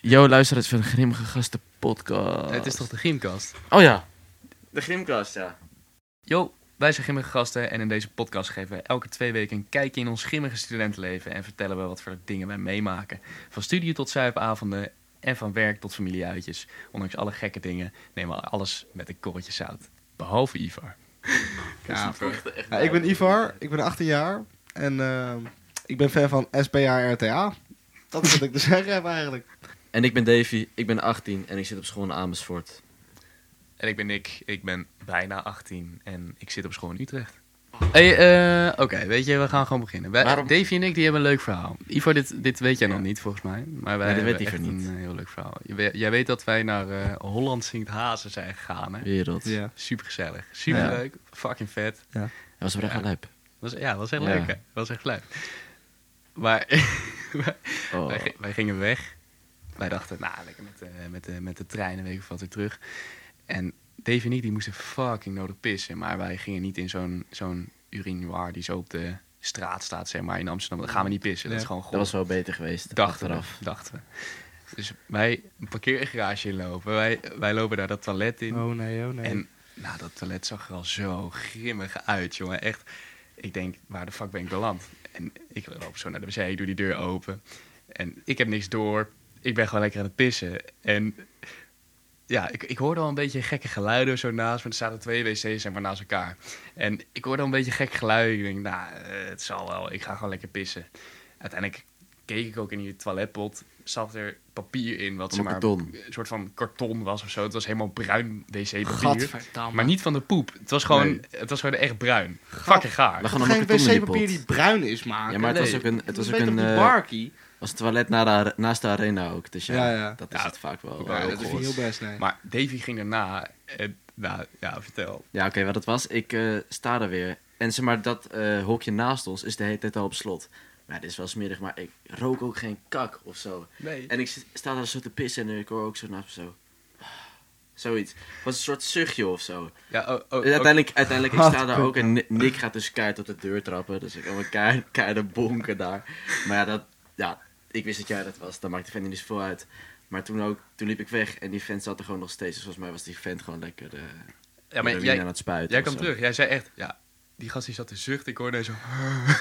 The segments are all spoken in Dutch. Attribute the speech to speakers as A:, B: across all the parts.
A: Yo, luister eens van de Grimmige Gasten podcast.
B: Het is toch de Gymkast?
A: Oh ja. De Grimkast, ja.
B: Yo, wij zijn Gimmige Gasten en in deze podcast geven we elke twee weken een kijkje in ons gimmige studentenleven en vertellen we wat voor dingen wij meemaken. Van studie tot zuipavonden en van werk tot familieuitjes. Ondanks alle gekke dingen nemen we alles met een korreltje zout. Behalve Ivar.
C: Ja, ik ben Ivar, ik ben 18 jaar en ehm, ik ben fan van SPARTA. Dat is wat ik te zeggen heb eigenlijk.
D: En ik ben Davy, ik ben 18 en ik zit op school in Amersfoort.
B: En ik ben Nick, ik ben bijna 18 en ik zit op school in Utrecht. Hey, eh, Oké, weet je, we gaan gewoon beginnen. Wij,
A: Waarom-
B: Davy en ik die hebben een leuk verhaal. Ivo, dit, dit weet jij nog niet volgens mij. Maar wij
D: Nee, dit weet
B: hebben
D: Ivo
B: echt
D: niet.
B: een eh, heel leuk verhaal. Je we- jij weet dat wij naar eh, Holland Zingt Hazen zijn gegaan, hè?
D: Wereld.
C: Ja.
B: Super gezellig, super leuk, fucking vet.
D: Dat was wel echt
B: Ja.
D: lijp.
B: Was, ja, was echt
D: Ja.
B: leuk, hè? Was echt leuk. Maar
D: Oh.
B: wij, gi- wij gingen weg. Wij dachten, nou, lekker met, de- met, de, met de trein een week of wat weer terug. En Dave en ik, die moesten fucking nodig pissen. Maar wij gingen niet in zo'n zo'n urinoir die zo op de straat staat, zeg maar, in Amsterdam. Dan gaan we niet pissen. Dat is
C: Ja.
B: gewoon
D: Dat
B: goed.
D: was wel beter geweest.
B: Dachten we,
D: achteraf.
B: dachten we. Dus wij een parkeergarage inlopen. Wij, wij lopen daar dat toilet in.
C: Oh nee, oh nee.
B: En nou, dat toilet zag er al zo grimmig uit, jongen. Echt, ik denk, waar de fuck ben ik beland? En ik loop zo naar de wc, ik doe die deur open. En ik heb niks door. Ik ben gewoon lekker aan het pissen. En ja, ik, ik hoorde al een beetje gekke geluiden zo naast me. Er zaten twee wc's zeg maar, naast elkaar. En ik hoorde al een beetje gek geluid. Ik denk, nou, eh, het zal wel. Ik ga gewoon lekker pissen. Uiteindelijk keek ik ook in die toiletpot. Zat er papier in, wat zeg maar,
D: karton.
B: een soort van karton was of zo. Het was helemaal bruin wc-papier.
A: Gadverdamme.
B: Maar niet van de poep. Het was gewoon,
D: Nee.
B: het was gewoon echt bruin. Fucking gaar.
D: We gaan
C: Toch
D: nog
C: geen
D: een karton in die
C: wc-papier
D: pot.
C: die bruin is maken.
D: Ja, maar het was
C: Ah, Nee.
D: ook een, het was ook
C: beter
D: een,
C: op die
D: eh,
C: barkie.
D: was een toilet na de are- naast de arena ook. Dus ja,
C: Ja, ja.
D: dat is
B: Ja,
D: het vaak wel.
B: ook
D: Ja,
B: wel
C: Dat is niet heel best, nee.
B: Maar Davy ging daarna. En, nou, ja, vertel.
D: Ja, oké, wat het was, ik eh, sta er weer. En zeg maar, dat eh, hokje naast ons is de hele tijd al op slot. Maar dit is wel smerig, maar ik rook ook geen kak of zo.
B: Nee.
D: En ik zit- sta daar zo te pissen en ik hoor ook zo naast me zo. Zoiets. Het was een soort zuchtje of zo.
B: Ja, oh, oh,
D: En uiteindelijk, uiteindelijk, ik
C: Wat
D: sta daar ook en Ni- Nick gaat dus keihard op de deur trappen. Dus ik had een keihard, keihard bonken daar. Maar ja, dat, ja, ik wist dat jij dat was. Dat maakte de vent niet zoveel uit. Maar toen, ook, toen liep ik weg en die vent zat er gewoon nog steeds. Dus volgens mij was die vent gewoon lekker eh
B: ook- ja, maar
D: heroïne aan
B: jij,
D: het spuiten.
B: jij
D: of
B: kwam
D: zo.
B: terug. Jij zei echt, ja, die gast die zat te zuchten. Ik hoorde zo,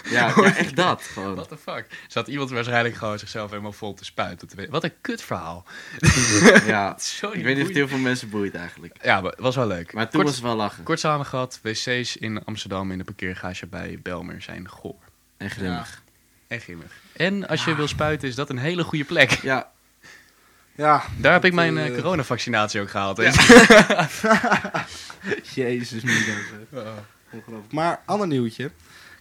D: Ja, ja, echt dat. Gewoon.
B: what the fuck. Zat iemand waarschijnlijk gewoon zichzelf helemaal vol te spuiten. Te- Wat een kut verhaal.
D: Ja.
B: Zo
D: Ik weet niet of het
B: boeiend.
D: heel veel mensen boeit eigenlijk.
B: Ja, maar het was wel leuk.
D: Maar toen
B: kort,
D: was het wel lachen.
B: kort samengevat, wc's in Amsterdam in de parkeergarage bij Belmer zijn goor.
D: En grimmig.
B: En grimmig. En als je wil spuiten is dat een hele goede plek.
D: Ja.
C: Ja,
B: Daar heb ik mijn
C: eh,
B: eh, coronavaccinatie ook gehaald.
C: jezus, niet dat, zeg. Ongelooflijk. Maar, ander nieuwtje.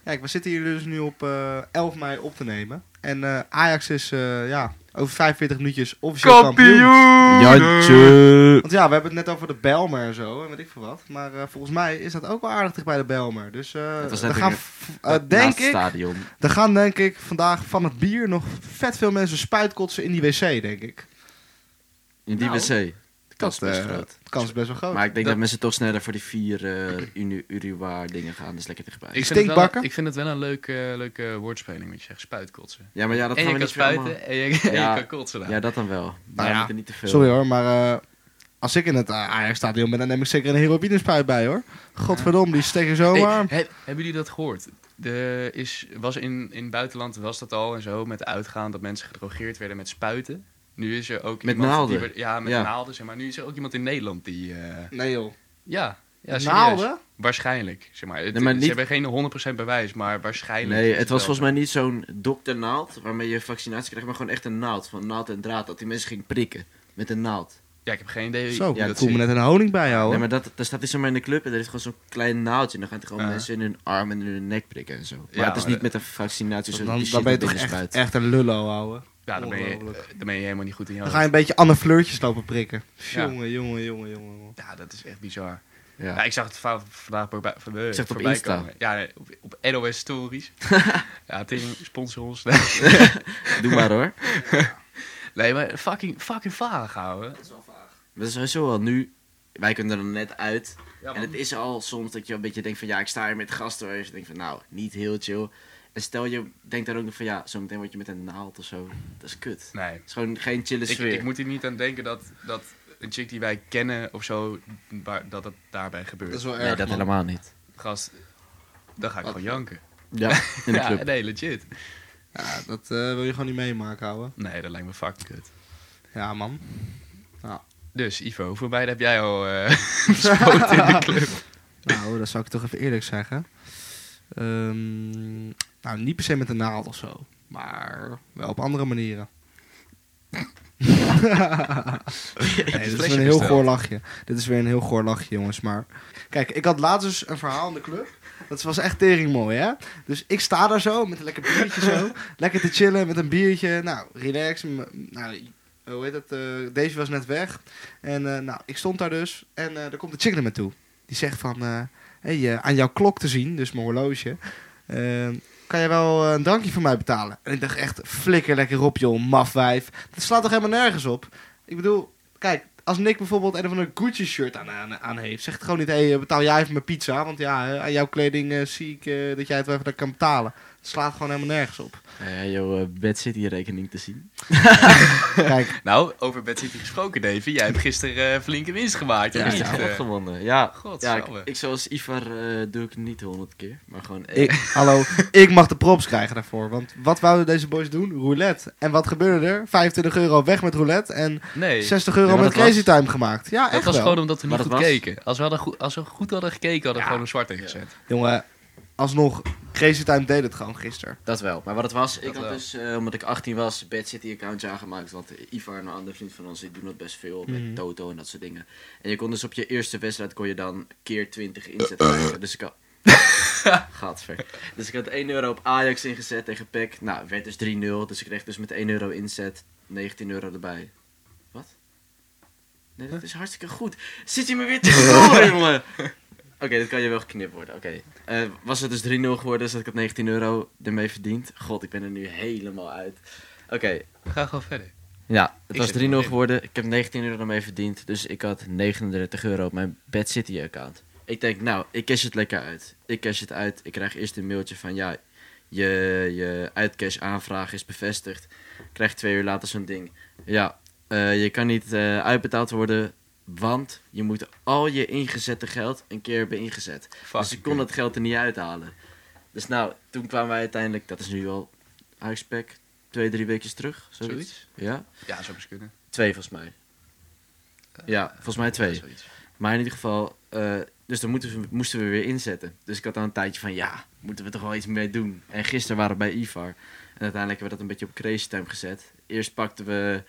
C: Kijk, we zitten hier dus nu op eh, 11 mei op te nemen. En eh, Ajax is eh, ja, over 45 minuutjes officieel kampioen.
A: Jantje.
C: Want ja, we hebben het net over de Belmer en zo, en weet ik veel wat. Maar eh, volgens mij is dat ook wel aardig dicht bij de Belmer. Dus eh
D: Het was
C: er
D: net
C: gaan,
D: weer-
C: f- eh,
D: Naast
C: denk
D: het
C: ik,
D: stadion.
C: er gaan denk ik vandaag van het bier nog vet veel mensen spuitkotsen in die wc, denk ik.
D: In die
C: Nou,
D: wc. De kans is
C: Dat,
D: best
C: eh,
D: groot.
C: De kans is best wel groot.
D: Maar ik denk
B: Dat-
D: dat mensen toch sneller voor die vier eh uni- Uruwaar dingen gaan. Dus lekker dichtbij.
B: Ik vind, het wel,
C: Stinkbakken?
B: ik vind het wel een leuke, leuke woordspeling, moet je zeggen. Spuitkotsen.
D: Ja, maar ja, dat
B: en
D: gaan
B: je
D: we
B: kan
D: niet weer
B: spuiten Ah,
D: allemaal...
B: en je, en je
D: Ja.
B: kan kotsen. daar.
D: Ja, dat dan wel. Maar
C: ja.
D: we moeten niet te veel.
C: Sorry hoor, maar eh, als ik in het eh, Ajax-stadion ben, dan neem ik zeker een heroïne spuit bij hoor. Godverdomme, die steken zo
B: Hey,
C: warm.
B: heb- hebben jullie dat gehoord? Er is, was in, in het buitenland was dat al en zo met uitgaan dat mensen gedrogeerd werden met spuiten. Nu is er ook
D: Met
B: iemand
D: naalden.
B: die werd- ja, met
D: Ja.
B: naalden. Zeg maar nu is er ook iemand in Nederland die. eh,
C: Nee joh.
B: ja, ja serieus.
C: Naalden?
B: Waarschijnlijk. Zeg maar. Het-
D: Nee, maar
B: Ze
D: niet-
B: hebben geen 100% bewijs, maar waarschijnlijk.
D: Nee,
B: is
D: het was
B: wel
D: volgens mij niet zo'n dokternaald waarmee je vaccinatie krijgt, maar gewoon echt een naald van naald en draad. Dat die mensen gingen prikken met een naald.
B: Ja, ik heb geen idee.
C: Zo,
B: hoe
C: ja,
B: dat
C: voel me
B: zit.
C: net een honing bij jou hoor.
D: Nee, maar dat, daar staat hij zomaar in de club en er is gewoon zo'n klein naaldje. En dan gaan er gewoon
B: Ja.
D: mensen in hun arm en in hun nek prikken en zo. Maar
B: Ja,
D: het is
B: maar
D: niet met een vaccinatie. Zo,
C: dan, dan
D: die
C: ben je
D: shit
C: toch
D: binnen
C: echt,
D: spuit.
C: echt een lullo houden.
B: Ja, dan ben, je,
C: Ongelooflijk.
B: eh, dan ben je helemaal niet goed in je
C: Dan
B: hoofd.
C: ga je een beetje Anne Fleurtjes lopen prikken.
B: Ja.
C: Jongen, jongen, jongen, jongen.
B: Ja, dat is echt bizar. Ja.
D: Ja.
B: ik zag het va- vandaag voorbij, voorbij,
D: zag het op
B: voorbij
D: Insta.
B: komen. Ja, nee, op, op NOS Stories. ja, Tim, sponsor ons.
D: Doe maar hoor.
B: Nee, maar fucking, fucking vaag houden.
D: Maar dat is sowieso wel nu. Wij kunnen er net uit.
B: Ja,
D: en het is al soms dat je een beetje denkt van ja, ik sta hier met gasten waar je denkt van nou, niet heel chill. En En stel je denkt daar ook nog van, ja, zometeen word je met een naald of zo. Dat is kut.
B: Nee.
D: Het is gewoon geen chille
B: Ik,
D: sfeer.
B: ik moet hier niet aan denken dat, dat een chick die wij kennen of zo, waar- dat het daarbij gebeurt.
C: Dat is wel erg.
D: nee, dat
C: man.
D: helemaal niet.
B: Gast, dan ga ik gewoon janken.
D: Ja, in de
B: ja,
D: club.
B: nee, legit.
C: Ja, dat eh, wil je gewoon niet meemaken, houden.
B: Nee, dat lijkt me fucking kut.
C: Ja, man.
B: Dus Ivo, hoeveel beide heb jij al eh gespoten in de club?
C: Nou, dat zou ik toch even eerlijk zeggen. Ehm, nou, niet per se met een naald of zo. Maar wel op andere manieren. Nee, dit is weer een heel goor lachje. Dit is weer een heel goor lachje, jongens. Maar kijk, ik had laatst dus een verhaal in de club. Dat was echt tering mooi, hè? Dus ik sta daar zo met een lekker biertje zo. lekker te chillen met een biertje. Nou, relax. M- Nou, hoe heet het? eh, deze was net weg. En eh, nou, ik stond daar dus. En eh er komt een chick naar me toe. Die zegt van... eh, hey, eh, aan jouw klok te zien, dus mijn horloge... ehm, kan je wel eh, een drankje voor mij betalen? En ik dacht echt, flikker lekker op joh, mafwijf. Dat slaat toch helemaal nergens op? Ik bedoel, kijk, als Nick bijvoorbeeld een of een Gucci shirt aan, aan, aan heeft... zegt gewoon niet, hey, eh, betaal jij even mijn pizza... want ja, eh, aan jouw kleding eh, zie ik eh, dat jij het wel even kan betalen. Het slaat gewoon helemaal nergens op.
D: Eh, joh, eh, Bad City rekening te zien.
C: Kijk,
B: Nou, over Bad City gesproken, Davy. Jij hebt gisteren eh, flinke winst gemaakt.
D: Ja,
B: of
D: is
B: niet?
D: de
B: Eh,
D: gok gewonnen. Ja, ja
B: Godsamme.
D: ik, ik zoals Ivar eh, doe ik niet honderd keer, maar gewoon één.
C: ik, hallo, ik mag de props krijgen daarvoor. Want wat wouden deze boys doen? Roulette. En wat gebeurde er? 25 euro weg met roulette en...
B: nee,
C: 60 euro
D: Ja, maar
C: met
D: dat was-
C: Crazy Time gemaakt. Ja,
B: dat
C: echt
B: was
C: wel.
B: gewoon omdat we niet
D: Maar
B: goed
D: dat was-
B: keken. Als we, hadden goed, als we goed hadden gekeken, hadden we gewoon een zwart ingezet.
C: Jongen, alsnog, Crazy Time deed het gewoon gisteren.
D: Dat wel. Maar wat het was,
B: Dat
D: ik had
B: wel.
D: dus, eh, omdat ik 18 was, Bad City accounts aangemaakt. Want Ivar, een andere vriend van ons, die doen dat best veel.
C: Mhm.
D: Met Toto en dat soort dingen. En je kon dus op je eerste wedstrijd kon je dan keer 20 inzetten. krijgen. Dus ik had... Gadver. Dus ik had 1 euro op Ajax ingezet tegen PEC. Nou, werd dus 3-0. Dus ik kreeg dus met 1 euro inzet 19 euro erbij. Wat? Nee, dat is hartstikke goed. Zit je me weer te scoren, jongen? Oké, dat kan je wel geknipt worden. Oké. Eh, was het dus 3-0 geworden, dus dat ik had 19 euro ermee verdiend. God, ik ben er nu helemaal uit. Oké,
B: Ga gewoon verder.
D: ja, het
B: Ik
D: was 3-0
B: zit er nog in.
D: geworden. Ik heb 19 euro ermee verdiend, dus ik had 39 euro op mijn Bad City account. Ik denk, nou, ik cash het lekker uit. Ik cash het uit. Ik krijg eerst een mailtje van, ja, je, je uitcash aanvraag is bevestigd. Ik Krijg twee uur later zo'n ding. Ja, eh, je kan niet eh, uitbetaald worden, want je moet al je ingezette geld een keer hebben ingezet.
B: Fuck.
D: Dus ik kon dat geld er niet uithalen. Dus nou, toen kwamen wij uiteindelijk, dat is nu al huispack, twee, drie weekjes terug. Zoiets.
B: Zoiets?
D: Ja,
B: Ja, zou best kunnen.
D: twee volgens mij. Ja, volgens mij twee.
B: Ja, zoiets.
D: Maar in ieder geval, eh, dus dan moeten we, moesten we weer inzetten. Dus ik had dan een tijdje van, ja, moeten we toch wel iets mee doen. En gisteren waren we bij Ivar. En uiteindelijk hebben we dat een beetje op crazy time gezet. Eerst pakten we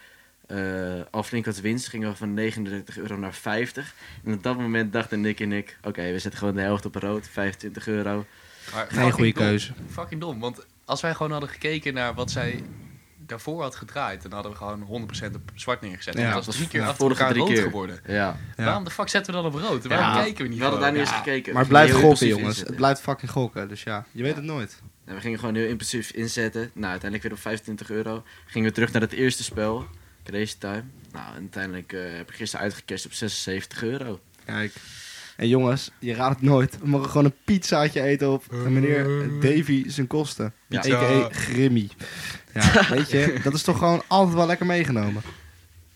D: eh al flink wat winst. Gingen we van 39 euro naar 50. En op dat moment dachten Nick en ik, oké, we zetten gewoon de helft op rood. 25 euro.
B: Maar
C: Geen
B: fucking
C: goede
B: dom.
C: keuze.
B: Fucking dom, want als wij gewoon hadden gekeken naar wat zij daarvoor had gedraaid, dan hadden we gewoon 100% op zwart neergezet.
C: Ja,
B: en dat
C: dat
B: was drie keer
C: ja,
B: achter
D: vorige
B: elkaar
D: drie
B: rood
D: keer.
B: geworden.
D: Ja,
C: Ja.
B: Waarom de fuck zetten we dan op rood? Waarom
D: Ja,
B: kijken we niet
D: we hadden daar
B: gewoon?
D: niet eens
B: Ja.
D: gekeken.
C: Maar het
D: We gingen
C: blijft
D: heel impulsief
C: gokken, jongens. Het
D: inzetten.
C: blijft fucking gokken. Dus ja, je weet het nooit.
D: En we gingen gewoon heel impulsief inzetten. Nou, uiteindelijk weer op 25 euro. Gingen we terug naar het eerste spel, Crazy Time. Nou, en uiteindelijk eh, heb ik gisteren uitgecashed op 76 euro.
C: Kijk. En jongens, je raadt het nooit. We mogen gewoon een pizzaatje eten op meneer Davy zijn kosten.
D: Ja.
C: A.k.a. Grimmy. Ja, weet je, dat is toch gewoon altijd wel lekker meegenomen.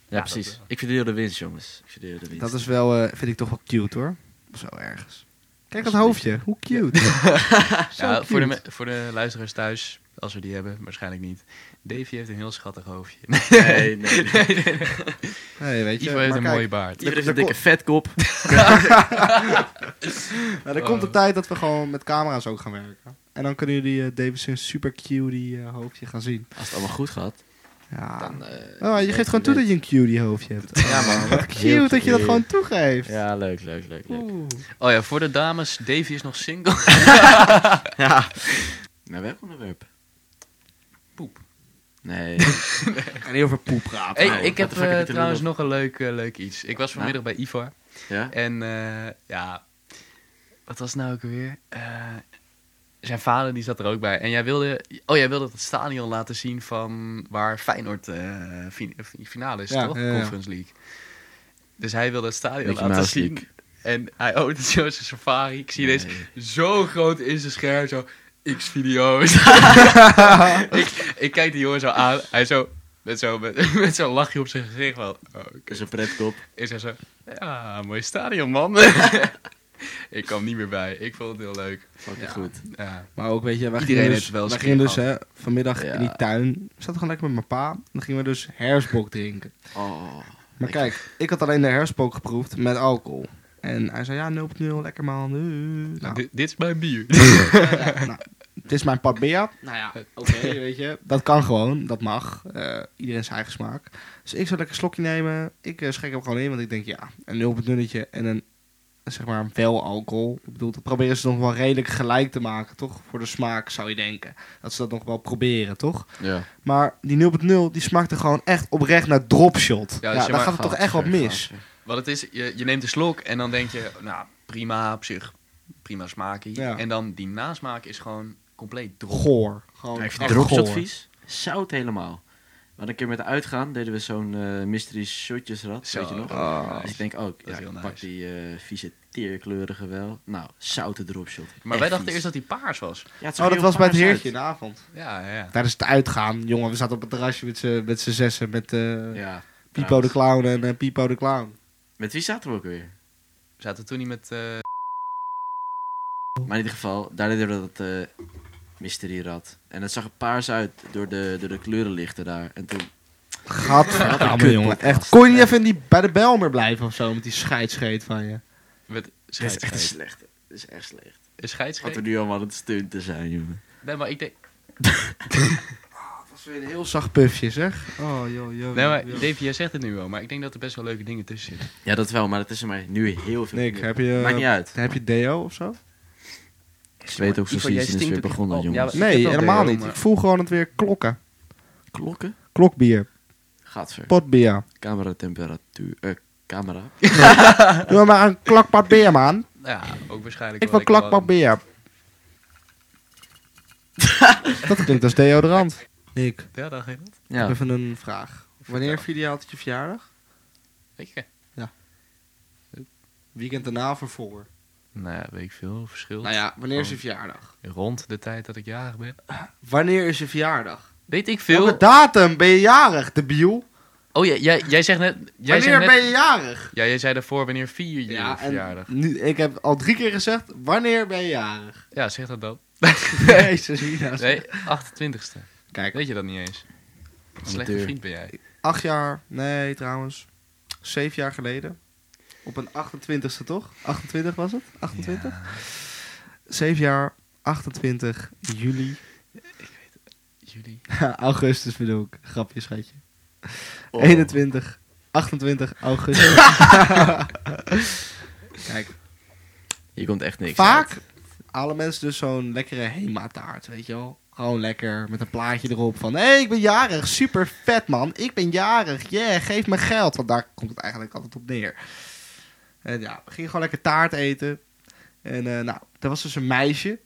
D: Ja, precies.
B: dat wel.
D: ik verdeel de winst, jongens. Ik verdeel de winst.
C: eh, Dat is wel, eh, vind ik toch wel cute hoor. Zo ergens. Kijk dat hoofdje, hoe cute. Zo
B: Ja, voor, de,
C: cute.
B: me- voor de luisteraars thuis, als we die hebben, waarschijnlijk niet. Davy heeft een heel schattig hoofdje.
D: Nee, nee. nee.
C: Nee, weet je,
B: Ivo heeft
C: maar
B: een
C: kijk,
B: mooie baard.
D: Iedereen heeft
C: de
D: een dikke
C: kop.
D: vetkop.
C: Nou, er
B: eh,
C: komt de tijd dat we gewoon met camera's ook gaan werken. En dan kunnen jullie eh Davidson super cutie eh, hoofdje gaan zien.
D: Als het allemaal goed gaat,
C: Ja.
D: dan... eh,
C: oh, je
D: weet
C: geeft gewoon toe dat je een cutie hoofdje hebt.
D: Ja, man. Wat
C: Cute dat je dat gewoon toegeeft.
D: Ja, leuk, leuk, leuk, leuk.
C: Oeh.
B: Oh ja, voor de dames, Davy is nog single.
D: Ja. Naar welk onderwerp?
B: Poep.
D: Nee.
C: En heel veel poep praten.
B: Hey,
D: nou,
B: ik
D: wat
B: heb
D: de fuck
B: eh,
D: heb ik te
B: trouwens
D: doen
B: nog een leuk, eh, leuk iets. Ik was vanmiddag bij Ivar.
D: Ja?
B: En eh, ja, wat was het nou ook weer? zijn vader die zat er ook bij. En jij wilde, oh jij wilde het stadion laten zien van waar Feyenoord eh, fi- fi- finale is,
C: Ja,
B: toch?
C: ja, ja.
B: Conference League. Dus hij wilde het stadion
D: Mickey
B: laten
D: Mouse
B: zien. oh,
D: League.
B: En hij opent zo zijn safari. Ik zie deze zo groot in zijn scherm. Zo X-video's. ik, ik kijk die jongen zo aan. Hij zo, met zo'n met, met zo'n lachje op zijn gezicht. Wel, oh,
D: Dat is een pretkop.
B: is hij zo, ja, mooi stadion, man. ik kwam niet meer bij. Ik vond het heel leuk.
D: Fucking
B: Ja.
D: goed.
B: Ja.
C: Maar ook, weet je, wij
B: Iedereen
C: gingen
B: heeft
C: dus,
B: wel eens
C: wij
B: een keer
C: gingen dus hè, vanmiddag
A: Ja.
C: in die tuin. Ik zat gewoon lekker met mijn pa. Dan gingen we dus hersbok drinken.
D: Oh.
C: Maar kijk, ik had alleen de hersbok geproefd met alcohol. En hij zei, ja, 0.0, lekker man. Eh, Nou,
B: Dit- dit is mijn bier.
C: het is mijn pad beer. Nou ja, oké, weet je. Dat kan gewoon, dat mag. Eh, iedereen zijn eigen smaak. Dus ik zou lekker een slokje nemen. Ik eh, schrik hem gewoon in, want ik denk, ja, een 0.0 en een, zeg maar, wel alcohol. Ik bedoel, dat proberen ze nog wel redelijk gelijk te maken, toch? Voor de smaak, zou je denken. Dat ze dat nog wel proberen, toch?
D: Ja.
C: Maar die 0.0, die smaakte gewoon echt oprecht naar dropshot.
B: Ja,
C: Ja,
B: dus je
C: daar
B: mag
C: gaat het toch echt wat mis.
B: Wat het is, je, je neemt een slok en dan denk je, nou prima op zich, prima smaakje.
C: Ja.
B: En dan die nasmaak is gewoon compleet droog.
C: Goor. Gewoon
A: Hij heeft
C: echt
D: Dropshot
C: goor.
D: vies? Zout helemaal. Maar een keer met de uitgaan deden we zo'n eh, mystery shotjesrad,
B: Zo,
D: weet je nog?
B: ah,
D: Dus ik denk ook,
B: is
D: ja,
B: heel
D: ik
B: nice.
D: pak die eh vieze teerkleurige wel. Nou, zoute dropshot.
B: Maar wij dachten eerst dat die paars was.
D: Ja, het zag
C: Oh, dat
D: heel
C: was bij het
D: paars
C: heertje in
D: uit.
C: de avond.
B: Ja, ja, ja.
C: Tijdens het uitgaan, jongen, we zaten op het terrasje met z'n met z'n zessen. Met eh,
D: Ja.
C: Pipo de
D: trouwens.
C: Clown en eh, Pipo de Clown.
D: Met wie zaten we ook weer?
B: We zaten toen niet met... eh,
D: Maar in ieder geval, daar deden we dat eh mystery rad. En het zag er paars uit door de, door de kleurenlichten daar. En toen, Wat een
C: Gadverdamme,
D: kut
C: jongen.
D: podcast.
C: Echt. Kon je niet
D: Ja.
C: even in die, bij de bel meer blijven of zo? Met die scheidscheet van je.
B: met
D: het is echt een
B: scheidsrechter.
D: slechte. Het is echt slecht.
B: Een
D: Wat Oh,
B: scheidsrechter?
D: we nu allemaal aan het stunten zijn, jongen.
B: Nee, maar ik denk...
C: Dat was weer een heel zacht pufje, zeg. Oh, joh, joh.
B: Nee, maar Dave, jij zegt het nu wel, maar ik denk dat er best wel leuke dingen tussen zitten.
D: Ja, dat wel, maar dat is er maar nu heel veel.
C: Nick, heb je,
B: eh,
D: Maakt niet uit.
C: heb je deo of zo?
D: Ik weet ook
B: Ivo,
D: precies,
B: jij
D: het is
B: stinkt
D: weer
B: ook echt
D: begonnen,
B: op. Ja,
D: jongens.
B: Ik heb
C: Nee,
B: wel
C: helemaal
B: DO,
C: niet.
B: maar-
C: Ik voel gewoon het weer klokken.
D: Klokken?
C: Klokbier.
D: Gadver.
C: Potbier.
D: Cameratemperatuur. eh camera.
C: Doe maar een klakpot bier, man.
B: Ja, ook waarschijnlijk
C: Ik wil
B: lekker warm.
C: klakpot bier. Dat klinkt als deodorant. Nick.
B: Ja, dacht je dat?
D: Ja.
C: Even een vraag. Wanneer vierde je altijd je verjaardag?
B: Weet je?
C: Weekend daarna voor voor.
B: Nou ja, weet ik veel. Verschil.
C: Nou ja, wanneer is je verjaardag?
B: Rond de tijd dat ik jarig ben.
C: Wanneer is je verjaardag?
B: Weet ik
C: Welke
B: veel.
C: datum ben je jarig, debiel?
B: Oh, jij, jij, jij zegt net... Jij
C: Wanneer
B: zegt net
C: ben je jarig?
B: Ja, jij zei daarvoor wanneer vier je je verjaardag.
C: nu, ik heb al drie keer gezegd, wanneer ben je jarig?
B: Ja, zeg dat dan.
C: Jezus, Mina's.
B: Nee, 28ste.
C: Kijk,
B: Weet je dat niet eens? Wat een Slechte
D: Amateur.
B: vriend ben jij.
C: acht jaar, nee trouwens, zeven jaar geleden. Op een 28ste toch? 28 was het? 28?
B: Ja,
C: Zeven jaar, 28 juli.
B: jullie.
C: Augustus bedoel ik. Grapje, schatje.
D: Oh.
C: 21, 28 augustus. Kijk,
D: Hier komt echt niks
C: vaak
D: uit.
C: halen mensen dus zo'n lekkere Hema-taart, weet je wel. Gewoon lekker, met een plaatje erop van... Hé, hey, ik ben jarig, super vet man, ik ben jarig, yeah, geef me geld. Want daar komt het eigenlijk altijd op neer. En ja, we gingen gewoon lekker taart eten. En eh, nou, er was dus een meisje,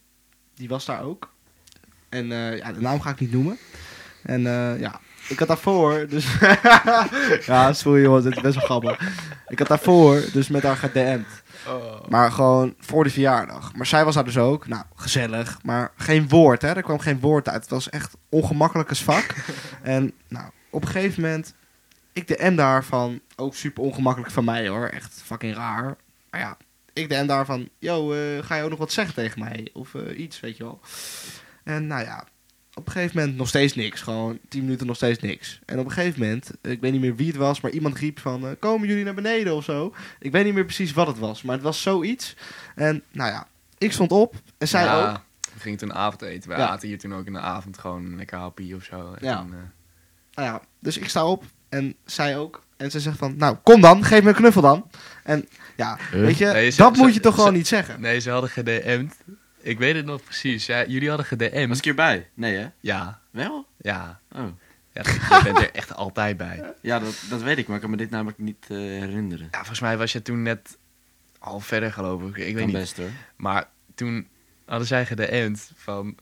C: die was daar ook. En eh, ja, de naam ga ik niet noemen. En eh, ja, ik had daarvoor, dus... ja, sorry jongens, dit is best wel grappig. Ik had daarvoor dus met haar gedm'd.
B: Oh.
C: Maar gewoon voor de verjaardag. Maar zij was daar dus ook. Nou, gezellig. Maar geen woord, hè. Er kwam geen woord uit. Het was echt ongemakkelijk als vak. en nou, op een gegeven moment... Ik de M daarvan... Ook super ongemakkelijk van mij, hoor. Echt fucking raar. Maar ja, ik de M daarvan... Yo, eh, ga je ook nog wat zeggen tegen mij? Of eh, iets, weet je wel. En nou ja... Op een gegeven moment nog steeds niks. Gewoon tien minuten nog steeds niks. En op een gegeven moment, eh, ik weet niet meer wie het was, maar iemand riep van... eh, komen jullie naar beneden of zo? Ik weet niet meer precies wat het was, maar het was zoiets. En nou ja, ik stond op en zij ook.
B: We gingen toen avondeten. We
C: Ja.
B: aten hier toen ook in de avond gewoon lekker happy of zo. En
C: Ja.
B: toen, eh,
C: Nou ja, dus ik sta op en zij ook. En ze zegt van, nou kom dan, geef me een knuffel dan. En ja,
D: Huh?
C: weet je,
B: Eh, Nee, ze-
C: dat
B: ze-
C: moet je toch
B: ze-
C: gewoon niet zeggen.
B: Nee, ze hadden gedm'd. Ik weet het nog precies. Ja, jullie hadden
D: Was
B: gedm'd.
D: ik hierbij? Nee, hè?
B: Ja,
D: Wel?
B: ja.
D: Oh.
B: ja je bent er echt altijd bij.
D: Ja, dat, dat weet ik, maar ik kan me dit namelijk niet eh, herinneren.
B: Ja, volgens mij was je toen net al verder geloof ik. Ik weet
D: Kan
B: niet.
D: best hoor.
B: Maar toen hadden zij gedm'd van...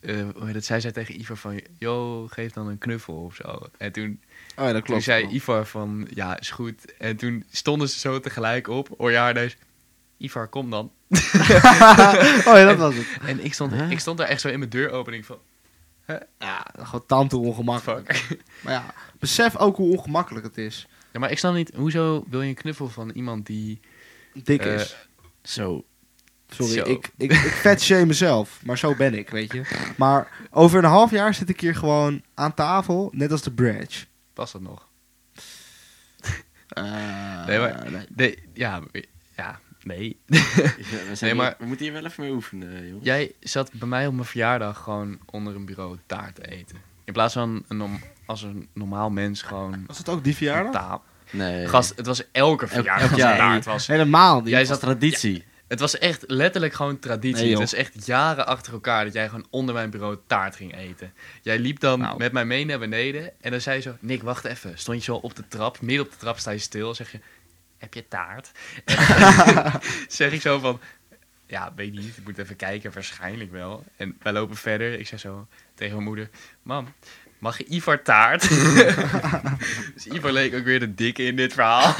B: eh hoe heet het? Zij zei tegen Ivar van... Yo, geef dan een knuffel of zo. En toen,
C: Oh ja, dat
B: toen
C: klopt.
B: zei Ivar van... Ja, is goed. En toen stonden ze zo tegelijk op. Hoor je haar ineens, Ivar, kom dan.
C: oh ja, dat was het.
B: En ik stond,
A: Huh?
B: ik stond daar echt zo in mijn deuropening van...
C: Ja, gewoon tante ongemakkelijk.
B: Fuck.
C: Maar ja, besef ook hoe ongemakkelijk het is.
B: Ja, maar ik snap niet, hoezo wil je een knuffel van iemand die...
C: Dik
B: Eh,
C: is.
A: Zo.
C: Sorry,
B: zo.
C: ik, ik, ik vet shame mezelf. Maar zo ben ik, weet je. Maar over een half jaar zit ik hier gewoon aan tafel, net als de Bradge.
B: Was dat nog?
D: Ah.
C: Eh,
B: Nee, maar- Nee, ja, ja, nee.
D: Ja, we, zijn
B: Nee,
D: hier-
B: maar-
D: we moeten hier wel even mee oefenen, eh, joh.
B: Jij zat bij mij op mijn verjaardag gewoon onder een bureau taart te eten. In plaats van een norm- als een normaal mens gewoon
C: Was dat ook die
B: een
C: verjaardag?
B: taal.
D: Nee.
B: Gast, het was elke verjaardag
D: elk
B: was een
D: jaar.
B: taart was.
C: Helemaal niet.
B: Jij
D: is dat
B: zat,
D: traditie?
B: het was echt letterlijk gewoon traditie.
C: Nee, joh.
B: het is echt jaren achter elkaar dat jij gewoon onder mijn bureau taart ging eten. Jij liep dan
C: Nou.
B: met mij mee naar beneden en dan zei je zo... Nick, wacht even. Stond je zo op de trap, midden op de trap sta je stil, zeg je... Heb je taart? En zeg ik zo van... Ja, weet niet. Ik moet even kijken. Waarschijnlijk wel. En wij lopen verder. Ik zeg zo tegen mijn moeder... Mam, mag je Ivar taart? dus Ivar leek ook weer de dikke in dit verhaal.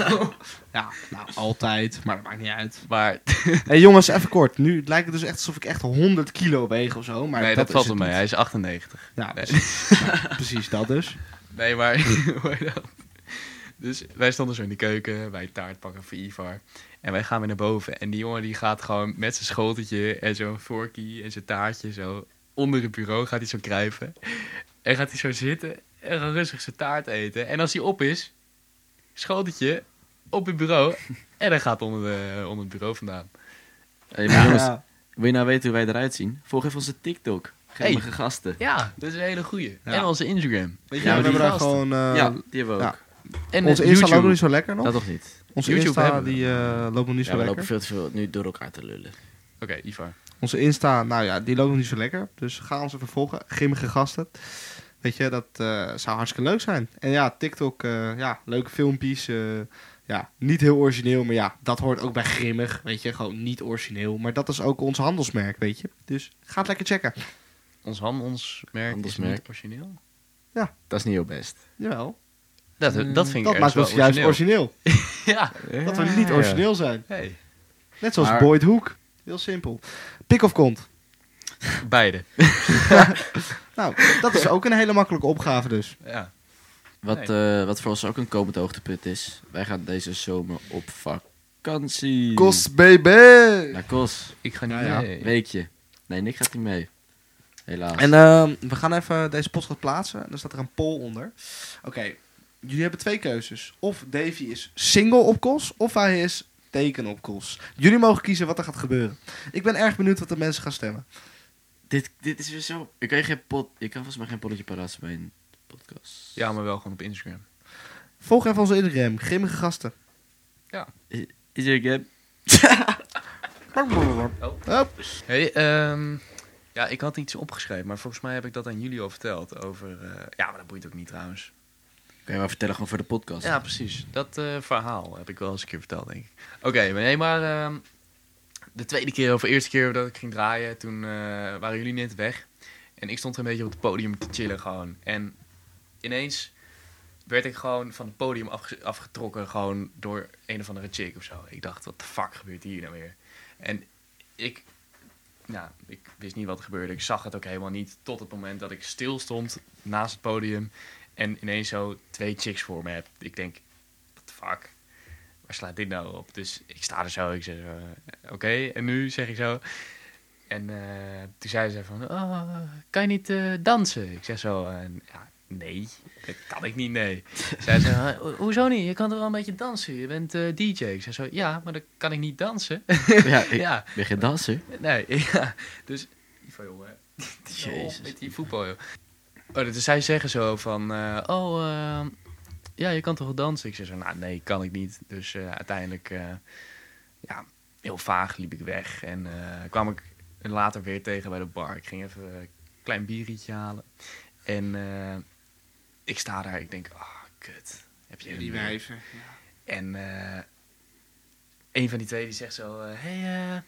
C: Ja, nou, altijd. Maar dat maakt niet uit.
B: Maar
C: Hé jongens, even kort. Nu lijkt het dus echt alsof ik echt 100 kilo weeg of zo. Maar
B: nee, dat,
C: is
B: valt
C: het
B: wel mee.
C: niet.
B: Hij is 98.
C: Ja,
B: Nee.
C: precies. Nou, precies dat dus.
B: Nee, maar... hoor je dat? dus wij stonden zo in de keuken. Wij taart pakken voor Ivar. En wij gaan weer naar boven. En die jongen die gaat gewoon met zijn schoteltje en zo'n vorkie en zijn taartje zo... Onder het bureau gaat hij zo kruipen. En gaat hij zo zitten en gewoon rustig zijn taart eten. En als hij op is, schoteltje op het bureau. En hij gaat onder, de, onder het bureau vandaan.
D: Hey, maar jongens,
C: Ja.
D: wil je nou weten hoe wij eruit zien? Volg even onze TikTok. Grimmige gasten.
B: Ja, dat is een hele goeie.
C: Ja.
B: En onze Instagram.
C: Weet
D: Ja,
C: je, we
D: maar
C: hebben
D: die
C: daar
B: gasten.
C: gewoon... eh,
D: ja, die hebben we
C: ja.
D: ook.
B: En
C: Onze Insta
B: YouTube.
C: loopt nog niet zo lekker nog.
D: Dat toch niet?
C: Onze
B: YouTube
C: Insta
B: hebben we.
C: die, eh, loopt nog
D: Ja,
C: niet zo
D: we
C: lekker.
D: lopen veel te veel nu door elkaar te lullen.
B: Oké, Ivar.
C: Onze Insta, nou ja, die loopt nog niet zo lekker. Dus ga ons even volgen. Grimmige gasten. Weet je, dat eh, zou hartstikke leuk zijn. En ja, TikTok, eh, ja, leuke filmpjes. eh, ja, niet heel origineel, maar ja, dat hoort ook bij grimmig. Weet je, gewoon niet origineel. Maar dat is ook ons handelsmerk, weet je. Dus ga het lekker checken.
B: Ons handelsmerk
D: Handelsmerk.
B: is niet origineel.
D: Dat is niet heel best.
C: Jawel.
B: Dat, dat vind ik
C: Mm, Dat maakt ons juist origineel.
B: Ja.
C: Dat we niet origineel zijn.
B: Hey.
C: Net zoals
D: Maar-
C: Boyd Hoek. Heel simpel. Pick of kont.
B: Beide.
C: Nou, dat is ook een hele makkelijke opgave dus.
B: Ja.
D: Wat, eh, wat voor ons ook een komend hoogtepunt is. Wij gaan deze zomer op vakantie.
C: baby!
D: Naar Kos.
B: Ik ga niet
C: Ja, ja.
B: mee.
D: Weekje. Nee, Nick gaat niet mee. Helaas.
C: En ehm, we gaan even deze podcast plaatsen. Dan staat er een poll onder. Oké, jullie hebben twee keuzes. Of Davy is single op kos, of hij is teken op kos. Jullie mogen kiezen wat er gaat gebeuren. Ik ben erg benieuwd wat de mensen gaan stemmen.
D: dit, dit is weer zo... Ik kan, je geen pot, ik kan volgens mij geen polletje paraat bij een podcast.
B: Ja, maar wel gewoon op Instagram.
C: Volg even onze Instagram, grimmige gasten.
D: Is er een
C: Hop.
B: Hey, ehm, ja, ik had iets opgeschreven, maar volgens mij heb ik dat aan jullie al verteld. Over, eh, ja, maar dat boeit ook niet trouwens.
D: Kan je maar vertellen gewoon voor de podcast.
B: Ja, precies. Dat eh, verhaal heb ik wel eens een keer verteld, denk ik. Oké, maar nee, maar ehm, de tweede keer of de eerste keer dat ik ging draaien, toen eh, waren jullie net weg. En ik stond een beetje op het podium te chillen gewoon. En ineens werd ik gewoon van het podium afge- afgetrokken gewoon door een of andere chick of zo. Ik dacht, wat de fuck gebeurt hier nou weer? En ik, nou, ik wist niet wat er gebeurde. Ik zag het ook helemaal niet tot het moment dat ik stil stond naast het podium. En ineens zo twee chicks voor me heb. Ik denk, what the fuck? Waar slaat dit nou op? Dus ik sta er zo. Ik zeg, eh, oké. En nu zeg ik zo. En eh, toen zei ze van, oh, kan je niet eh, dansen? Ik zeg zo, eh, ja, nee. Dat kan ik niet, nee. Zij zei, eh, ho- hoezo niet? Je kan toch wel een beetje dansen? Je bent eh, DJ. Ik zeg zo, ja, maar dan kan ik niet dansen.
D: ja, ik
B: ja.
D: ben geen danser.
B: Nee, ja. Dus... Ivo, jongen.
D: Jezus.
B: Jezus. Met die voetbal, joh. Oh, dus zij zeggen zo van... eh, oh, eh, ja, je kan toch wel dansen? Ik zeg zo, nou nee, kan ik niet. Dus eh, uiteindelijk... eh, ja, heel vaag liep ik weg. En eh, kwam ik later weer tegen bij de bar. Ik ging even een klein biertje halen. En eh, ik sta daar. Ik denk, ah, kut. Heb je eh,
C: Die
B: weer-
C: wijven.
B: en eh, een van die twee die zegt zo... eh, hey, eh,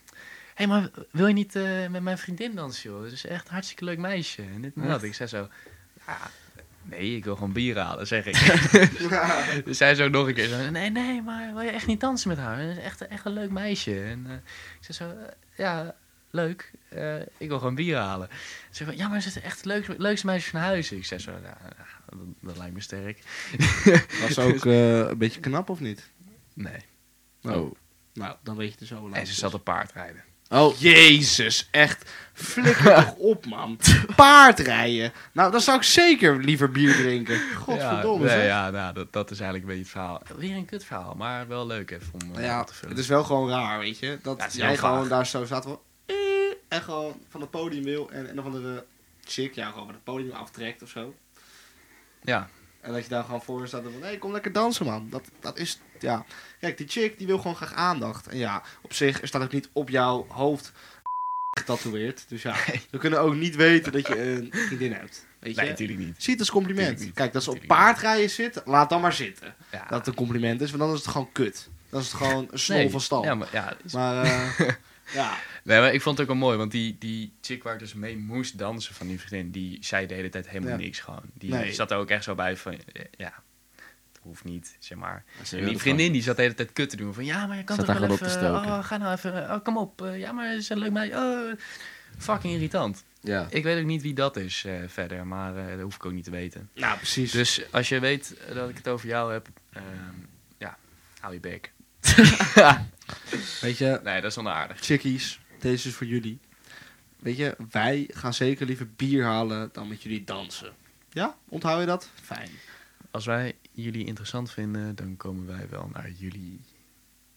B: hey, maar wil je niet eh, met mijn vriendin dansen, joh? Dat is echt een hartstikke leuk meisje. En dit en dat. Ik zei zo... Ja, Nee, ik wil gewoon bier halen, zeg ik. Dus zij zo nog een keer zo, nee, nee, maar wil je echt niet dansen met haar? Dat is echt, echt een leuk meisje. En eh, ik zei zo, eh, ja, leuk, Eh, ik wil gewoon bier halen. Ze zei, van, ja, maar ze is echt het leuk, leukste meisje van huis. Ik zei zo, nou, dat, dat lijkt me sterk.
C: Was ze ook eh, een beetje knap of niet?
B: Nee,
C: Oh. Nou, dan weet je het zo wel.
B: en ze zat op paardrijden.
C: Oh, jezus, echt. Flikker toch op, man. Paardrijden. Nou, dan zou ik zeker liever bier drinken. Godverdomme,
B: Ja,
C: zeg.
B: nee, ja nou, dat, dat is eigenlijk een beetje het verhaal. Weer een kut verhaal, maar wel leuk even om eh,
C: Ja, dus-
B: op te vullen.
C: het is wel gewoon raar, weet je. Dat
B: Ja, het is
C: jij
B: heel vaag.
C: gewoon daar zo staat van... eh, En gewoon van het podium wil en een of andere chick jou gewoon van het podium aftrekt of zo.
B: Ja,
C: En dat je daar gewoon voor staat en van... Hé, kom lekker dansen, man. Dat, dat is... Ja. Kijk, die chick die wil gewoon graag aandacht. En ja, op zich er staat ook niet op jouw hoofd getatoeëerd. Dus ja, we kunnen ook niet weten dat je een vriendin hebt. Weet je?
B: nee, natuurlijk niet.
C: Zie het als compliment.
B: Tuurlijk niet.
C: Kijk, dat ze op
B: Tuurlijk niet.
C: paardrijden zitten, laat dan maar zitten.
B: Ja.
C: Dat het een compliment is, want dan is het gewoon kut. Dan is het gewoon een snol
B: Nee,
C: van stal.
B: Ja, maar, ja, is-
C: Maar eh, ja,
B: Nee, maar ik vond het ook wel mooi, want die, die chick waar ik dus mee moest dansen van die vriendin, die zei de hele tijd helemaal
C: Ja.
B: niks gewoon. Die
C: Nee.
B: zat er ook echt zo bij van, eh, ja, het hoeft niet, zeg maar.
D: Ze
B: En
D: wilde
B: die vriendin die zat de hele tijd kut te doen van, ja, maar je kan
D: Zat
B: toch
D: daar
B: wel
D: gewoon
B: even,
D: op te stoken.
B: oh, ga nou even, oh, kom op, eh, ja, maar ze is een leuk meisje, oh, fucking irritant.
D: gewoon- Ja.
B: Ik weet ook niet wie dat is eh, verder, maar eh, dat hoef ik ook niet te weten.
C: nou precies.
B: Dus als je weet eh, dat ik het over jou heb, ehm, ja, hou je bek.
C: Weet je,
B: Nee, dat is onaardig.
C: chickies, deze is voor jullie. Weet je, wij gaan zeker liever bier halen dan met jullie dansen. Ja, onthoud je dat? Fijn.
B: Als wij jullie interessant vinden, dan komen wij wel naar jullie.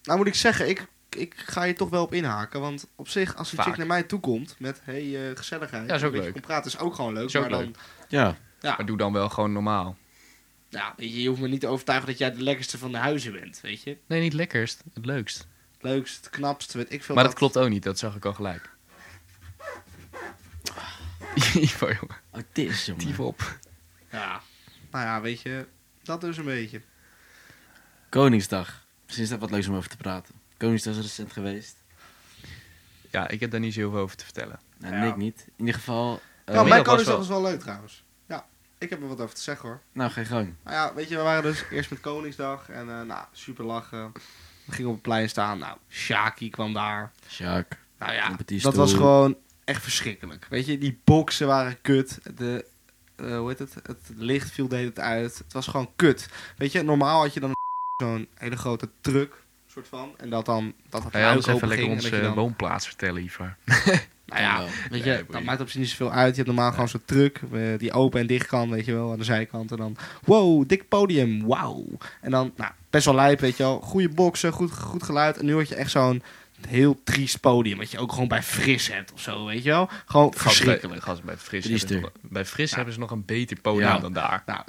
C: Nou moet ik zeggen, ik, ik ga je toch wel op inhaken. Want op zich, als een
B: Vaak.
C: chick naar mij toe komt met hey, eh, gezelligheid.
B: Ja, is ook
C: een beetje
B: leuk.
C: kom praten is ook gewoon leuk.
B: Is ook
C: maar dan,
B: leuk.
D: ja.
B: Maar doe dan wel gewoon normaal.
C: Ja, weet je, je hoeft me niet te overtuigen dat jij de lekkerste van de huizen bent, weet je.
B: Nee, niet lekkerst. Het leukst.
C: Leukst, het knapst, weet ik veel
B: Maar
C: wat.
B: dat klopt ook niet. Dat zag ik al gelijk. Ivo, jongen.
D: Oh, dit is jongen.
B: Tief op.
C: Ja, nou ja, weet je, dat dus een beetje.
B: Eh,
D: Koningsdag. Misschien is dat wat leuks om over te praten. Koningsdag is recent geweest.
B: Ja, ik heb daar niet zo heel veel over te vertellen.
D: Nou,
C: Ja.
D: Nick niet. In ieder geval... eh,
B: maar
C: nou, mijn
B: dat was
C: koningsdag
B: wel-
C: was wel leuk trouwens. Ja, ik heb er wat over te zeggen hoor.
D: Nou, geen gang.
C: Nou ja, weet je, we waren dus eerst met Koningsdag en eh, nou, super lachen. We gingen op het plein staan, nou, Shaki kwam daar.
D: Sjaak.
C: Nou ja,
D: Competitie
C: dat was
D: toe.
C: gewoon echt verschrikkelijk. Weet je, die boksen waren kut. De, eh, hoe heet het? Het licht viel deed het uit. Het was gewoon kut. Weet je, normaal had je dan zo'n hele grote truck, soort van. En dat dan... Dat had
B: Ga jij ons eh,
C: open
B: even lekker
C: ging en dat
B: onze
C: je dan-
B: woonplaats vertellen, Ivo?
C: Nou ja, weet je,
B: Nee, boeien.
C: dat maakt op zich niet zoveel uit. Je hebt normaal gewoon zo'n truck eh, die open en dicht kan, weet je wel, aan de zijkant. En dan, wow, dik podium, wauw. En dan, nou, best wel lijp, weet je wel. Goede boksen, goed, goed geluid. En nu had je echt zo'n heel triest podium, wat je ook gewoon bij Fris hebt of zo, weet je wel. Gewoon verschrikkelijk.
B: Gast, bij Fris,
D: Drie
B: hebben, ze- bij Fris hebben ze nog een beter podium
D: Ja.
B: dan daar.
C: Nou,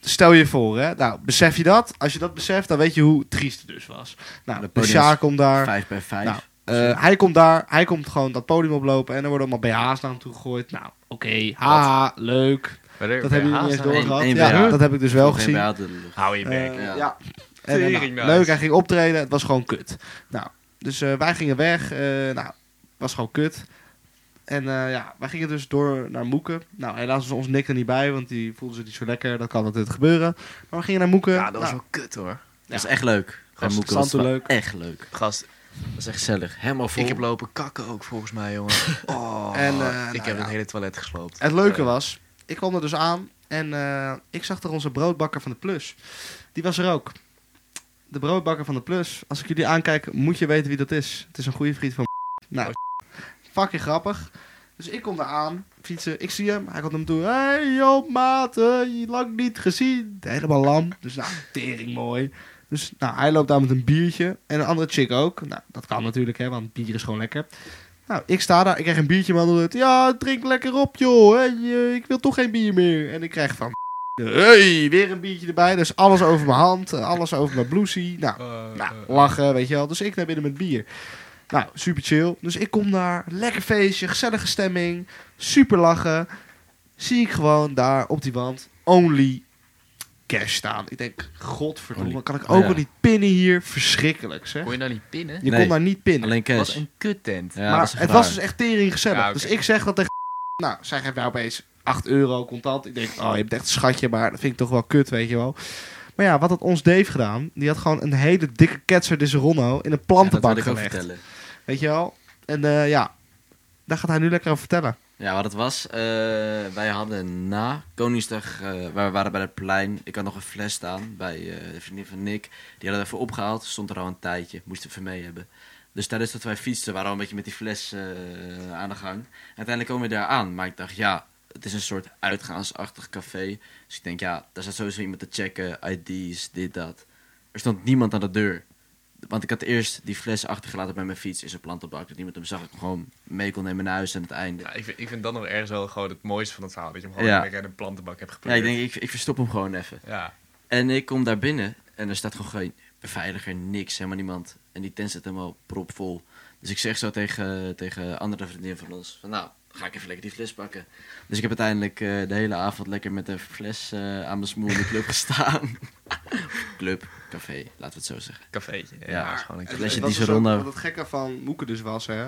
C: stel je voor, hè. Nou, besef je dat? Als je dat beseft, dan weet je hoe triest het dus was. Nou,
D: De
C: de
D: podium is
C: Sjaak komt daar.
D: Vijf bij vijf.
C: Nou, Eh, hij komt daar, hij komt gewoon dat podium oplopen en er worden allemaal BH's naar hem toe gegooid. Nou, oké, haha, leuk.
B: Maar er-
C: Dat
B: bij
C: hebben jullie
B: Haas
C: niet eens
B: dan-
D: door.
C: doorgehad.
D: één
C: Ja,
D: BH.
C: dat heb ik dus wel
D: Nog één bij
C: gezien.
D: uit de lucht.
B: Hou je bek.
C: Eh,
D: ja.
C: ja. En, eh, nou,
B: Tering, nice.
C: leuk, hij ging optreden. Het was gewoon kut. Nou, dus eh, wij gingen weg. eh nou, was gewoon kut. En eh, ja, wij gingen dus door naar Moeken. Nou, helaas was ons Nick er niet bij, want die voelde zich niet zo lekker. Dat kan natuurlijk gebeuren. Maar we gingen naar Moeken.
B: ja, dat was
C: Nou,
B: wel kut hoor.
D: Dat was echt leuk. Bij Moeken was
C: Santo
D: het wel
C: leuk.
D: Echt leuk.
B: Gast,
D: Dat was echt gezellig. Helemaal vol.
B: ik heb lopen kakken ook volgens mij, jongen. Oh,
C: En,
B: ik
C: eh,
B: heb
C: nou ja.
B: het hele toilet gesloopt.
C: Het leuke
B: Eh,
C: was, ik kwam er dus aan en eh, ik zag er onze broodbakker van de Plus. Die was er ook. De broodbakker van de Plus. Als ik jullie aankijk, moet je weten wie dat is. Het is een goede vriend van Nou, fucking grappig. Dus ik kom daar aan, fietsen, ik zie hem. Hij komt naar me toe. Hey joh, maat, eh, lang niet gezien. Helemaal lam. Dus nou, tering mooi. Dus nou, hij loopt daar met een biertje. En een andere chick ook. Nou, dat kan natuurlijk, hè, want bier is gewoon lekker. Nou, ik sta daar, ik krijg een biertje, man. Het, ja, drink lekker op, joh. Hey, eh, ik wil toch geen bier meer. En ik krijg van. Hey, weer een biertje erbij. Dus alles over mijn hand, eh, alles over mijn blousie. Nou,
B: Eh,
C: nou, lachen, weet je wel. Dus ik naar binnen met bier. Nou, super chill. Dus ik kom daar, lekker feestje, gezellige stemming, super lachen. Zie ik gewoon daar op die wand only cash staan. Ik denk, godverdomme,
D: Only.
C: kan ik
D: Oh,
C: ook
D: ja.
C: al niet pinnen hier? Verschrikkelijk, zeg.
B: Kon je nou niet pinnen?
C: Je
D: Nee.
C: kon daar niet pinnen
D: Alleen
B: Wat
D: cash.
B: een kuttent.
D: Ja, dat
C: maar
D: is echt
C: het was
D: waar.
C: dus echt tering gezellig.
B: Ja, oké.
C: Dus ik zeg dat tegen... Nou, zij geeft nou opeens 8 euro contant. Ik denk, oh, je hebt echt een schatje, maar dat vind ik toch wel kut, weet je wel. Maar ja, wat had ons Dave gedaan? Die had gewoon een hele dikke ketser de Ronno in een
D: dat
C: plantenbak
D: wil ik ook
C: gelegd.
D: vertellen.
C: Weet je wel? En eh, ja, daar gaat hij nu lekker over vertellen.
D: Ja, wat het was, eh, wij hadden na Koningsdag, eh, waar we waren bij het plein, ik had nog een fles staan bij eh, de vriendin van Nick. Die hadden we even opgehaald, stond er al een tijdje, moesten we even mee hebben. Dus tijdens dat wij fietsten waren we al een beetje met die fles eh, aan de gang. Uiteindelijk komen we daar aan, maar ik dacht, ja, het is een soort uitgaansachtig café. Dus ik denk, ja, daar zat sowieso iemand te checken, ID's, dit, dat. Er stond niemand aan de deur. Want ik had eerst die fles achtergelaten bij mijn fiets in zijn plantenbak. Dat niemand hem zag, ik hem gewoon mee kon nemen naar huis aan het einde.
B: Ja, ik, vind, ik vind dat nog ergens wel gewoon het mooiste van het verhaal. Dat je hem gewoon
D: Ja.
B: lekker in een plantenbak hebt
D: Ja,
B: gepleurd.
D: ik denk, ik, ik verstop hem gewoon even.
B: Ja.
D: En ik kom daar binnen en er staat gewoon geen beveiliger, niks, helemaal niemand. En die tent zit helemaal propvol. Dus ik zeg zo tegen, tegen andere vriendin van ons, van nou, ga ik even lekker die fles pakken. Dus ik heb uiteindelijk eh, de hele avond lekker met een fles eh, aan mijn smoel in de club gestaan. club, café, laten we het zo zeggen.
B: Cafeetje. Ja,
D: Ja.
B: is gewoon een
D: Het
B: cafeetje.
D: flesje
C: Dat
D: die
C: was ook
D: Ronno.
C: Wat het gekke van Moeken dus was, hè.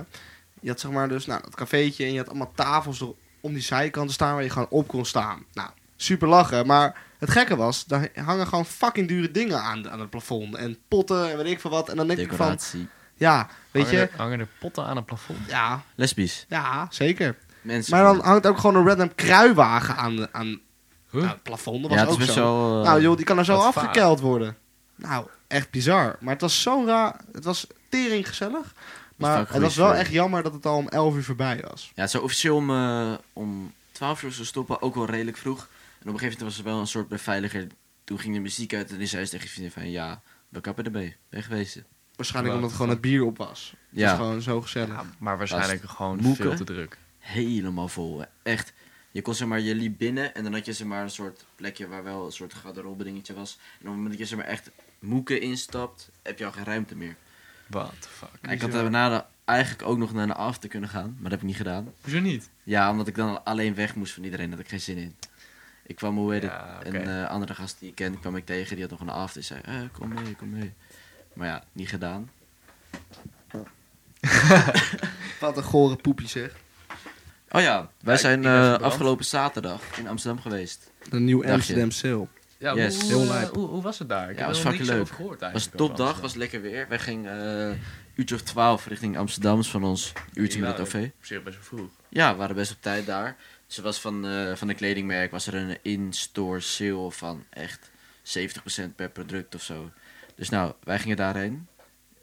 C: Je had zeg maar dus, nou, dat cafeetje en je had allemaal tafels er om die zijkanten staan waar je gewoon op kon staan. Nou, super lachen, maar het gekke was, daar hangen gewoon fucking dure dingen aan, aan het plafond. En potten en weet ik veel wat. En dan denk ik
D: Decoratie.
C: van, ja, weet
B: Hangen
C: je,
B: er- Hangen er potten aan een plafond.
C: ja,
D: Lesbisch.
C: ja, zeker.
D: Mensen.
C: Maar dan hangt ook gewoon een random kruiwagen aan, de- aan,
B: Huh?
C: aan het plafond. Dat was
D: ja, het is
C: ook
D: best
C: zo.
D: wel... eh,
C: nou joh, die kan er zo
B: wat
C: afgekeld worden. Nou, echt bizar. Maar het was zo raar. Het was tering gezellig.
D: vaak
C: Maar het
D: goede
C: was wel
D: sfeer.
C: echt jammer dat het al om 11 uur voorbij was.
D: Ja, het zou officieel om, eh, om 12 uur zou stoppen, ook wel redelijk vroeg. En op een gegeven moment was er wel een soort beveiliger. Toen ging de muziek uit en die zei ze tegen je vriendin van ja, we kappen erbij, wegwezen.
C: Waarschijnlijk
B: Wat?
C: omdat gewoon het bier op was. Het
D: Ja.
C: was gewoon zo gezellig.
B: Ja, maar waarschijnlijk gewoon
D: Moeken.
B: veel te druk.
D: Helemaal vol, hè. echt. Je kon zeg maar, je liep binnen en dan had je zeg maar een soort plekje waar wel een soort garderobe dingetje was. En op het moment dat je zeg maar echt moeken instapt, heb je al geen ruimte meer.
B: What the fuck.
D: Ik had daarna de- eigenlijk ook nog naar de after kunnen gaan, maar dat heb ik niet gedaan.
B: Hoezo niet?
D: Ja, omdat ik dan alleen weg moest van iedereen, had ik geen zin in. Ik kwam, hoe heet het,
B: Ja,
D: een
B: oké.
D: eh, andere gast die ik ken, kwam ik tegen, die had nog een avond en zei, eh, kom mee, kom mee. Maar ja, niet gedaan.
C: Wat een gore poepie zeg.
D: Oh ja, wij
B: ik-
D: zijn
B: ik ben
D: eh,
B: verbrand.
D: afgelopen zaterdag in Amsterdam geweest.
C: De nieuw
D: Dagje.
C: Amsterdam Sale.
B: Ja,
D: Yes.
B: hoe,
C: Heel
B: eh,
C: lijp.
B: hoe, hoe was het daar?
D: Ja,
B: Ik heb
D: was
B: er nog
D: fucking
B: niks
D: leuk.
B: over gehoord
D: Het was
B: eigenlijk.
D: een topdag, was lekker weer. Wij gingen eh uurtje of twaalf richting Amsterdam, is van ons uurtje met het OV.
B: Op zich best wel vroeg.
D: Ja, we waren best op tijd daar. Ze was van, eh van een kledingmerk, was er een in-store sale van echt 70% per product of zo. Dus nou, wij gingen daarheen.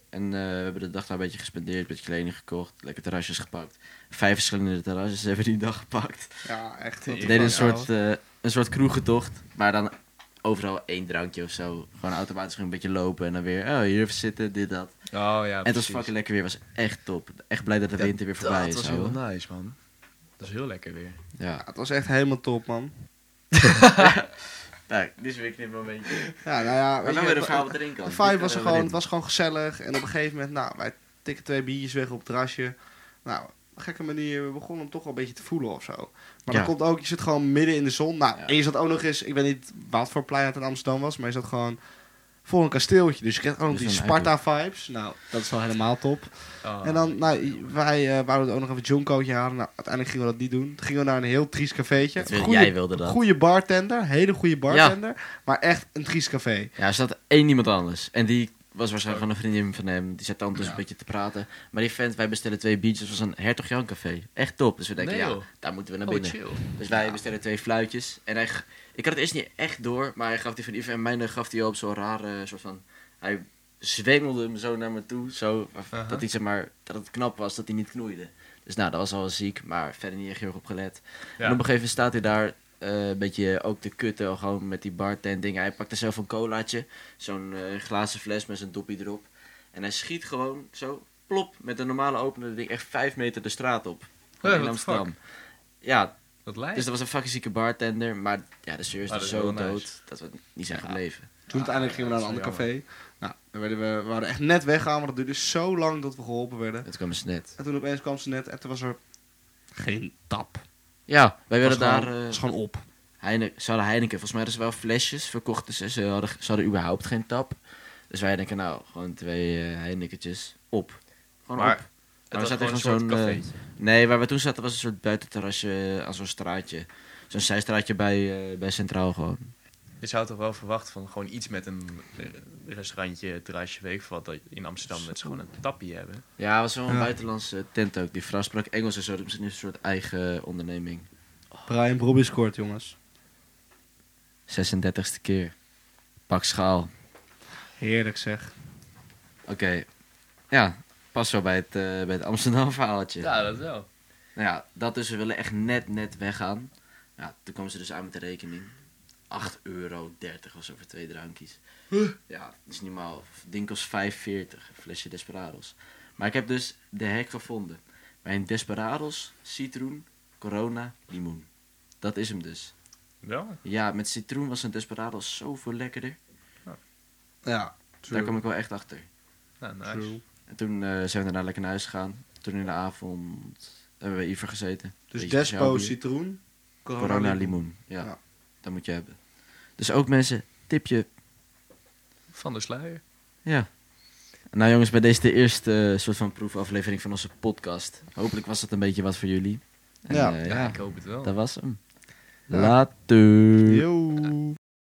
D: En eh, we hebben de dag daar een beetje gespendeerd, een beetje kleding gekocht, lekker terrasjes gepakt. Vijf verschillende terrasjes hebben we die dag gepakt.
C: Ja,
B: wat
C: echt.
D: We
B: Ik
D: deden een
B: wou-
D: soort, eh een soort kroegentocht, maar dan overal één drankje of zo. Gewoon automatisch gewoon een beetje lopen en dan weer, oh hier even zitten, dit, dat.
B: Oh ja,
D: en het was fucking lekker weer, was echt top. Echt blij dat de winter weer voorbij
B: Dat
D: is.
B: was
D: ouwe.
B: heel nice, man. Dat is heel lekker weer.
D: Ja.
C: het was echt helemaal top, man.
D: Nou, dit is weer een knipmomentje.
C: Ja, nou ja.
D: Maar dan
C: weet je,
D: weer een
C: het-
D: verhaal wat erin kan.
C: De vibe was er gewoon, het was gewoon gezellig. En op een gegeven moment, nou, wij tikken twee biertjes weg op het terrasje. Nou, op een gekke manier, we begonnen hem toch wel een beetje te voelen of zo. Maar
D: Ja.
C: dan komt ook, je zit gewoon midden in de zon. Nou,
D: Ja.
C: en je zat ook nog eens, ik weet niet wat voor plein het in Amsterdam was, maar je zat gewoon voor een kasteeltje. Dus je kreeg ook nog
D: Dus
C: die
D: dan
C: Sparta-vibes. Nou, dat is wel helemaal top.
D: Ah,
B: Oh.
C: En dan, nou, wij eh, wouden ook nog even een jonkootje halen. Nou, uiteindelijk gingen we dat niet doen. Toen gingen we naar een heel triest cafeetje.
D: Dat wil-
C: Goeie-
D: jij wilde dat.
C: Goede bartender, hele goede bartender. Maar echt een triest café.
D: Ja, er zat één iemand anders. En die was waarschijnlijk gewoon een vriendin van hem. Die zat dan dus een beetje te praten. Maar die vent, wij bestellen twee biertjes. Het was een Hertog Jan café. Echt top. Dus we denken,
B: Nee,
D: ja,
B: joh.
D: daar moeten we naar
B: Oh,
D: binnen.
B: chill.
D: dus wij bestellen twee fluitjes. En hij, g- ik had het eerst niet echt door. Maar hij gaf die van Yves en mijne gaf die op zo'n rare eh, soort van... Hij zwengelde hem zo naar me toe. Zo, waar-
B: Aha.
D: dat, hij, zeg maar, dat het knap was dat hij niet knoeide. Dus nou, dat was al wel ziek. Maar verder niet echt heel erg op gelet. En op een gegeven moment staat hij daar eh, een beetje ook te kutten, gewoon met die bartend dingen. Hij pakt er zelf een colaatje, zo'n eh, glazen fles met zijn doppie erop. En hij schiet gewoon zo, plop, met een normale opener dat ding echt vijf meter de straat op. Gewoon
B: Ja,
D: in
B: what the
D: Amsterdam. Ja,
B: Dat lijkt.
D: dus dat was een fucking zieke bartender, maar ja, de sfeer is
B: Maar
D: dus
B: Ah, dat is
D: zo
B: wel nice.
D: dood dat we niet zijn gebleven.
C: Toen uiteindelijk gingen we naar een
B: dat
C: ander
B: is wel
C: café. Nou, dan werden we, we waren echt net weggaan, want het duurde zo lang dat we geholpen werden.
D: Dat kwam eens net.
C: En toen opeens kwam ze net en toen was er geen tap.
D: Ja, wij werden
C: was
D: daar...
C: gewoon,
D: eh,
C: was gewoon op.
D: Heine, ze hadden Heineken, volgens mij hadden ze wel flesjes verkocht. Dus ze hadden, ze hadden überhaupt geen tap. Dus wij denken, nou, gewoon twee eh Heinekentjes op. Gewoon
B: Maar
D: op.
B: Het was
D: zaten
B: gewoon
D: echt
B: een
D: wel
B: soort
D: zo'n, eh,
B: cafeetje.
D: Nee, waar we toen zaten was een soort buitenterrasje aan zo'n straatje. zo'n zijstraatje bij, eh, bij Centraal gewoon.
B: Je zou toch wel verwachten van gewoon iets met een eh, restaurantje, terrasje, weet ik veel wat. dat In Amsterdam dat ze gewoon een tapje hebben.
D: Ja, was wel een
C: Ja.
D: buitenlandse tent ook. Die vrouw sprak Engels en zo. Dus het is een soort eigen onderneming. Oh.
C: Brian Brobby scoort, jongens.
D: 36e keer. Pak schaal.
C: Heerlijk zeg.
D: Oké. Ja, pas wel bij het, eh, bij het Amsterdam verhaaltje.
B: Ja, dat wel.
D: Nou ja, dat dus. We willen echt net, net weggaan. Ja, toen kwam ze dus aan met de rekening. 8,30 euro was over twee drankjes. Ja, dat is niet normaal. Ding kost 5,40. Een flesje Desperados. Maar ik heb dus de hek gevonden. Bij een Desperados, citroen, corona, limoen. Dat is hem dus.
B: Wel?
D: Ja, met citroen was een Desperados zoveel lekkerder.
C: Ja.
D: Daar kwam ik wel echt achter.
B: Nou, nice.
C: True.
D: En toen eh, zijn we daarna lekker naar huis gegaan. Toen in de avond hebben we Iver gezeten.
C: Dus
D: Beetje
C: Despo,
D: speciaal bier.
C: citroen, corona,
D: Corona limoen. Ja,
C: Ja.
D: dat moet je hebben. Dus ook mensen, tipje.
B: Van de sluier.
D: Ja. Nou jongens, bij deze de eerste eh, soort van proefaflevering van onze podcast. Hopelijk was dat een beetje wat voor jullie. En,
C: Ja.
D: eh,
B: Ja, ik hoop het wel.
D: dat was hem.
C: Ja.
D: Later.
C: Yo.